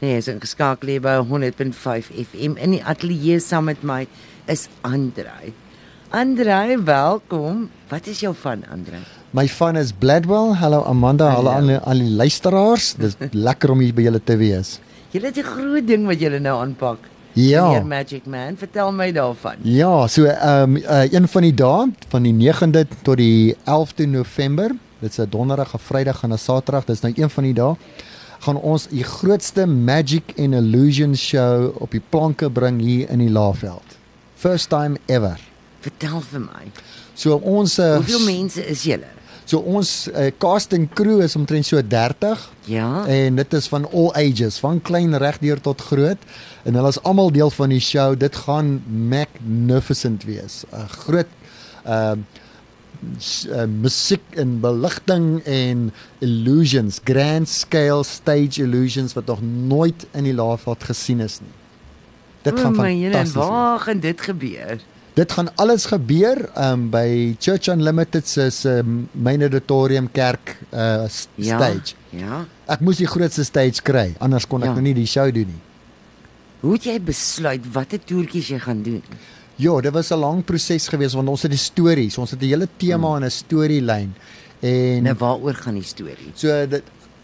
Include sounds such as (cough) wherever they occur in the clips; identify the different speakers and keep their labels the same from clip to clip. Speaker 1: Nee, is ingeskakel hier by 100.5 FM in die ateljee saam met my is Andrei. Andrei, welkom. Wat is jou van Andrei?
Speaker 2: My van is Bladwell. Hallo Amanda, hallo aan al die luisteraars.
Speaker 1: (laughs)
Speaker 2: Dis lekker om hier by julle te wees.
Speaker 1: Julle het 'n groot ding wat julle nou aanpak.
Speaker 2: Ja.
Speaker 1: Meneer Magic Man, vertel my daarvan.
Speaker 2: Ja, so ehm um, uh, een van die dae van die 9de tot die 11de November, dit's 'n donderdag, 'n Vrydag en 'n Saterdag, dis nou een van die dae, gaan ons die grootste Magic and Illusion show op die planke bring hier in die Laagveld. First time ever.
Speaker 1: Vertel vir my.
Speaker 2: So ons uh,
Speaker 1: Hoeveel mense is julle?
Speaker 2: so ons uh, casting crew is omtrent so 30
Speaker 1: Ja.
Speaker 2: En dit is van all ages, van klein regdeur tot groot. En hulle is almal deel van die show. Dit gaan magnificent wees. 'n Groot ehm uh, musiek en beligting en illusions, grand scale stage illusions wat nog nooit in die Laagveld gesien is nie. Dit gaan
Speaker 1: O, my Here,
Speaker 2: fantasties. wees.
Speaker 1: Waar gaan dit gebeur?
Speaker 2: Dit gaan alles gebeur um, by Church Unlimited se um, main auditorium kerk uh, s- stage.
Speaker 1: Ja.
Speaker 2: Ek moes die grootste stage kry, anders kon ek
Speaker 1: Ja.
Speaker 2: ja. nou nie die show doen nie.
Speaker 1: Hoe het jy besluit watter toertjies jy gaan doen?
Speaker 2: Ja, dit was 'n lang proses geweest want ons het die stories, ons het 'n hele tema en 'n storielyn. En
Speaker 1: Hmm. Nou waaroor gaan die storie?
Speaker 2: so dit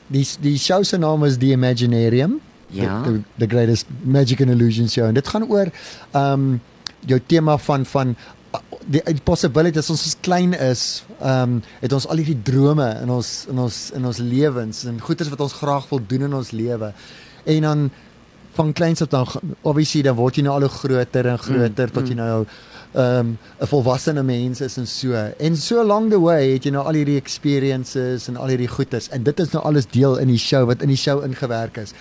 Speaker 2: die die show se naam is The Imaginarium.
Speaker 1: Ja.
Speaker 2: The, the, the greatest magic and illusion show. En dit gaan oor ehm um, jou tema van van uh, die, die possibility as ons as klein is, ehm um, het ons al hierdie drome in ons in ons in ons lewens en goeders wat ons graag wil doen in ons lewe. En dan van kleins af dan g- obviously dan word jy nou al hoe groter en groter mm, tot jy nou ehm um, 'n volwassene mens is en so. En so along the way het jy nou al hierdie experiences en al hierdie goeters en dit is nou alles deel in die show wat in die show ingewerk is.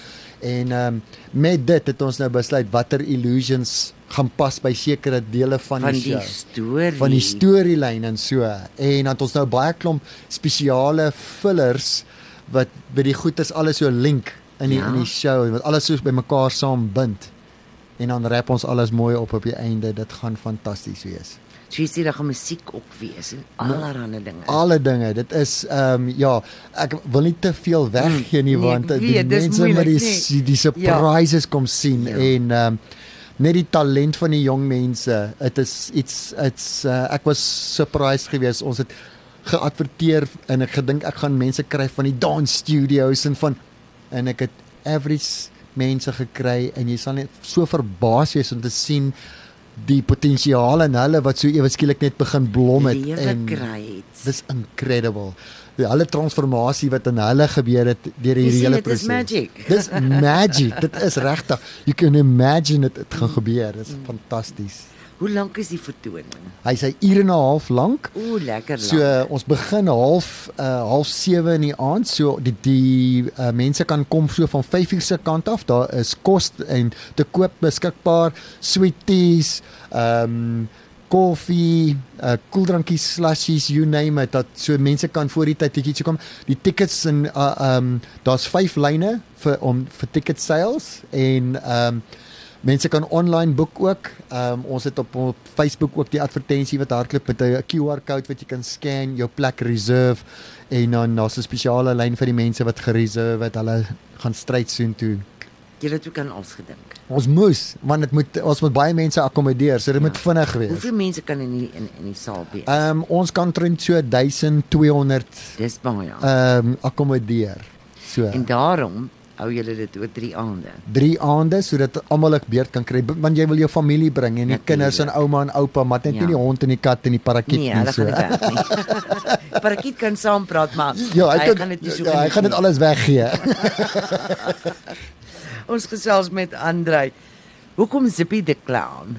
Speaker 2: En ehm um, met dit het ons nou besluit watter illusions gaan pas by sekere dele van,
Speaker 1: Van
Speaker 2: die
Speaker 1: die
Speaker 2: show
Speaker 1: storie.
Speaker 2: van die storielyn en so. En dan het ons nou baie klomp spesiale fillers wat by die goeters alles so link in die
Speaker 1: Ja.
Speaker 2: ja. in die show wat alles soos bymekaar saambind. En dan rap ons alles mooi op op die einde. Dit gaan fantasties wees.
Speaker 1: So jy sê daar gaan musiek ook wees en
Speaker 2: Ah,
Speaker 1: allerlei dinge.
Speaker 2: Alle dinge. Dit is ehm um, ja, ek wil nie te veel weggee
Speaker 1: Nee,
Speaker 2: nie want eh,
Speaker 1: ek
Speaker 2: die
Speaker 1: weet, dis
Speaker 2: mense met die
Speaker 1: moeilik,
Speaker 2: nee. die surprises ja. kom sien
Speaker 1: Ja.
Speaker 2: ja. en ehm um, net die talent van die jong mense. Dit is iets dit's uh, ek was surprised geweest. Ons het geadverteer en ek gedink ek gaan mense kry van die dance studios en van en ek het average mense gekry en jy sal net so verbaas wees om te sien die potensiaal in hulle wat so ewe skielik net begin blom het
Speaker 1: lewe kry het.
Speaker 2: Dis incredible. Die hele transformasie wat in hulle gebeur het deur
Speaker 1: Jy
Speaker 2: hierdie
Speaker 1: sien,
Speaker 2: hele
Speaker 1: dit is
Speaker 2: proses.
Speaker 1: magic.
Speaker 2: Dis magic. Dit is regtig. You can imagine dit dit gaan gebeur. Dit is
Speaker 1: Mm.
Speaker 2: fantasties.
Speaker 1: Hoe lank is die vertoning?
Speaker 2: Hy sê ure en 'n half lank.
Speaker 1: O, lekker lank.
Speaker 2: So uh, ons begin half uh, half 7 in die aand. So die die uh, mense kan kom so van 5uur se kant af. Daar is kos en te koop beskikbaar, sweeties, ehm um, koffie, uh, koeldrankies, slushies, you name it. Dat so mense kan voor die tyd bietjie so kom. Die tickets en ehm uh, um, daar's 5 lyne vir om vir ticket sales en ehm um, Mense kan online boek ook. Ehm um, ons het op, op Facebook ook die advertensie wat hardloop met 'n QR-kode wat jy kan scan, jou plek reserve en dan daar's 'n spesiale lyn vir die mense wat gereserve het. Hulle gaan stryd soen toe.
Speaker 1: Jy het ook aan ons gedink.
Speaker 2: Ons moes want dit moet ons moet baie mense akkommodeer, so dit
Speaker 1: Ja.
Speaker 2: ja. moet vinnig wees.
Speaker 1: Hoeveel mense kan in die, in in die saal wees?
Speaker 2: Ehm um, ons kan trend so 1200
Speaker 1: Dis baie.
Speaker 2: ehm um, akkommodeer. So
Speaker 1: en daarom hou julle dit oor 3 aande.
Speaker 2: drie aande sodat almal 'n beurt kan kry B- want jy wil jou familie bring en die
Speaker 1: Natuurlijk.
Speaker 2: kinders en ouma en oupa maar net
Speaker 1: Ja.
Speaker 2: nie die hond en die kat en die parakiet
Speaker 1: Nee,
Speaker 2: nie
Speaker 1: hulle
Speaker 2: so
Speaker 1: gaan dit werk nie. (laughs) Parakiet kan saam praat maar
Speaker 2: ja hy,
Speaker 1: hy
Speaker 2: kan,
Speaker 1: gaan dit nie so
Speaker 2: ja, hy
Speaker 1: geniet
Speaker 2: gaan dit
Speaker 1: nie.
Speaker 2: alles weggee
Speaker 1: Ons gesels met Andrei. Hoekom Zippy the Clown?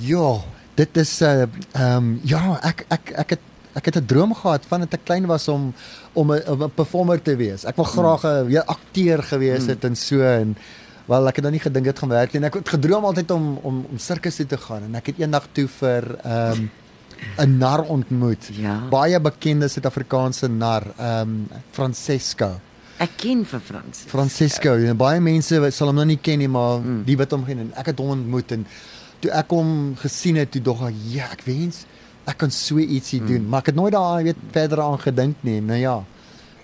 Speaker 2: ja dit is 'n uh, ehm um, ja ek ek ek het ek het 'n droom gehad vandat ek klein was om om 'n om 'n performer te wees ek wil graag 'n mm. akteur gewees het en so en Wel ek het nou nie gedink dit gaan werk nie en ek het gedroom altyd om om om sirkus toe te gaan en ek het eendag toe vir ehm um, 'n nar ontmoet.
Speaker 1: Ja.
Speaker 2: Baie bekende Suid-Afrikaanse nar, ehm um, Francesco.
Speaker 1: Ek ken vir Frans.
Speaker 2: Francesco,
Speaker 1: Ja.
Speaker 2: en baie mense wat sal hom nou nie ken nie, maar mm. die wat hom ken en ek het hom ontmoet en toe ek hom gesien het, toe dog ek, ja, ek wens ek kan so ietsie mm. doen, maar ek het nooit daaraan weet verder aan gedink nie. Nou ja.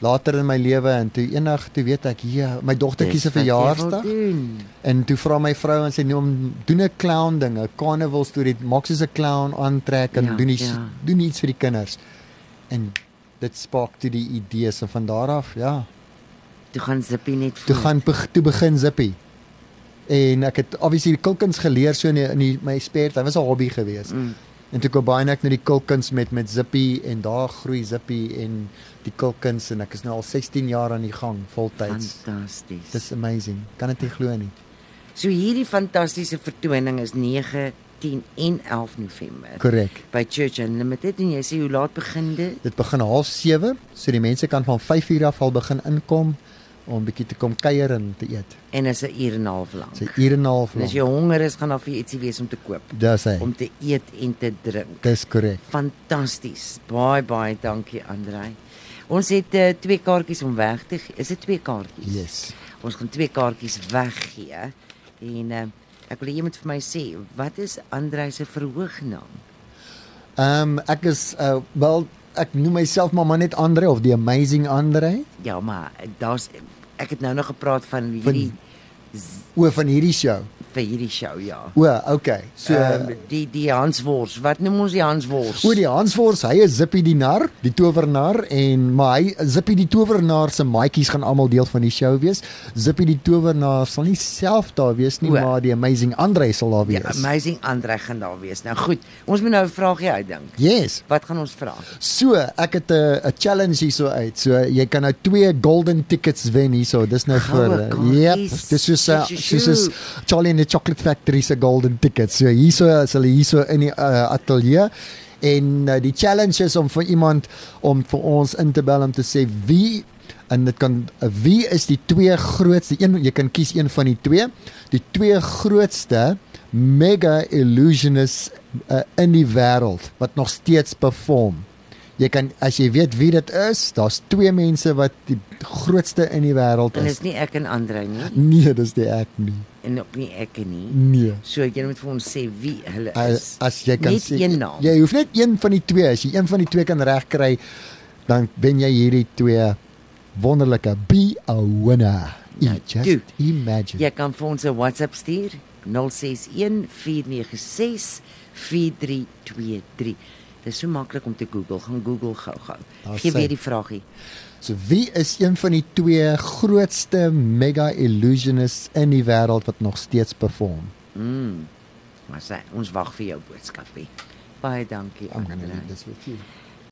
Speaker 2: later in my lewe en toe eendag toe weet ek hier my dogtertjie se
Speaker 1: Dis wat jy wil
Speaker 2: verjaarsdag
Speaker 1: doen.
Speaker 2: en toe vra my vrou en sy noem doen 'n clown ding, 'n carnival storie, maak soos 'n clown aantrek en
Speaker 1: Ja,
Speaker 2: ja, doen iets
Speaker 1: ja.
Speaker 2: ja. doen iets vir die kinders. En dit spaak toe die idees en van daar af, ja,
Speaker 1: Toe gaan Zippie net
Speaker 2: toe
Speaker 1: voor.
Speaker 2: gaan beg- toe begin Zippy. En ek het obviously die kulkuns geleer so in die, in die, my spare time, was 'n hobby geweest.
Speaker 1: Mm.
Speaker 2: En toe kom baie net na die kulkuns met met Zippy en daar groei Zippy en die kulkuns en ek is nou al 16 jaar aan die gang voltyds.
Speaker 1: Fantasties.
Speaker 2: Dis amazing. Kan dit nie glo nie.
Speaker 1: So hierdie fantastiese vertoning is 9, 10 en 11 November
Speaker 2: Korrek.
Speaker 1: by Church Unlimited en jy sê hoe laat begin dit?
Speaker 2: Dit begin half 7, so die mense kan van 5uur af al begin inkom om bietjie te kom kuier en te eet.
Speaker 1: En is 'n uur en 'n half
Speaker 2: Dis 'n
Speaker 1: lank.
Speaker 2: uur en 'n half
Speaker 1: En as jy
Speaker 2: lank.
Speaker 1: honger is, gaan daar vir jou ietsie wees om te koop,
Speaker 2: Dis hy.
Speaker 1: om te eet en te drink.
Speaker 2: Dis korrek.
Speaker 1: Fantasties. Baie baie dankie Andrei. Ons het uh, twee kaartjies om weg te gee. Is dit twee kaartjies?
Speaker 2: Yes.
Speaker 1: Ons gaan twee kaartjies weggee en uh, ek wil hê jy moet vir my sê, wat is Andrei se verhoognaam?
Speaker 2: Ehm um, ek is uh wel ek noem myself maar maar net Andre of die amazing Andre
Speaker 1: Ja, maar daar's ek het nou nog gepraat van hierdie
Speaker 2: o van hierdie show.
Speaker 1: vir hierdie show, ja.
Speaker 2: O, okay.
Speaker 1: So
Speaker 2: So um,
Speaker 1: um, die die Hanswors, wat noem ons die Hanswors?
Speaker 2: O die Hansfors, hy is Zippie die nar, die towernar en maar hy Zippie die towernar se maatjies gaan almal deel van die show wees. Zippie die towernar sal nie self daar wees nie,
Speaker 1: O.
Speaker 2: o. maar die amazing Andre sal daar
Speaker 1: ja,
Speaker 2: wees. Ja,
Speaker 1: amazing Andre gaan daar wees. Nou goed, ons moet nou 'n vraagie uitdink.
Speaker 2: yes.
Speaker 1: Wat gaan ons vra?
Speaker 2: So, ek het 'n 'n challenge hierso uit. So jy kan nou twee golden tickets wen hierso. Dis nou
Speaker 1: Goue
Speaker 2: vir
Speaker 1: kaartjies.
Speaker 2: Ja, dis soos uh,
Speaker 1: Sjoe,
Speaker 2: soos is
Speaker 1: sjoe.
Speaker 2: Charlie and the Chocolate Factory se golden tickets. So hierso is hulle hierso in die uh, ateljee en uh, die challenge is om vir iemand om vir ons in te bel om te sê wie en dit kan uh, wie is die twee grootste een jy kan kies een van die twee die twee grootste mega illusionists uh, in die wêreld wat nog steeds perform jy kan as jy weet wie dit is daar's twee mense wat die grootste in die wêreld
Speaker 1: En
Speaker 2: is
Speaker 1: is nie ek en Andre nie
Speaker 2: nee dis die ek nie
Speaker 1: en ook nie ek en nie.
Speaker 2: nee
Speaker 1: So jy moet vir ons sê wie hulle
Speaker 2: as,
Speaker 1: is.
Speaker 2: as jy kan
Speaker 1: Net
Speaker 2: sê
Speaker 1: een naam.
Speaker 2: jy hoef net een van die twee as jy een van die twee kan regkry dan ben jy hierdie twee wonderlike be a winner you
Speaker 1: Nou,
Speaker 2: just
Speaker 1: dude,
Speaker 2: imagine
Speaker 1: Jy kan vir ons 'n WhatsApp stuur 061 496 4323. Dis so maklik om te Google. Gaan Google gou-gou.
Speaker 2: Daar
Speaker 1: Gee
Speaker 2: sê.
Speaker 1: weer die vragie.
Speaker 2: so wie is een van die twee grootste mega illusionists in die wêreld wat nog steeds perform
Speaker 1: Mm. Maar sê, ons wag vir jou boodskapie. Baie dankie.
Speaker 2: I'm going to
Speaker 1: Andrei.
Speaker 2: leave this with you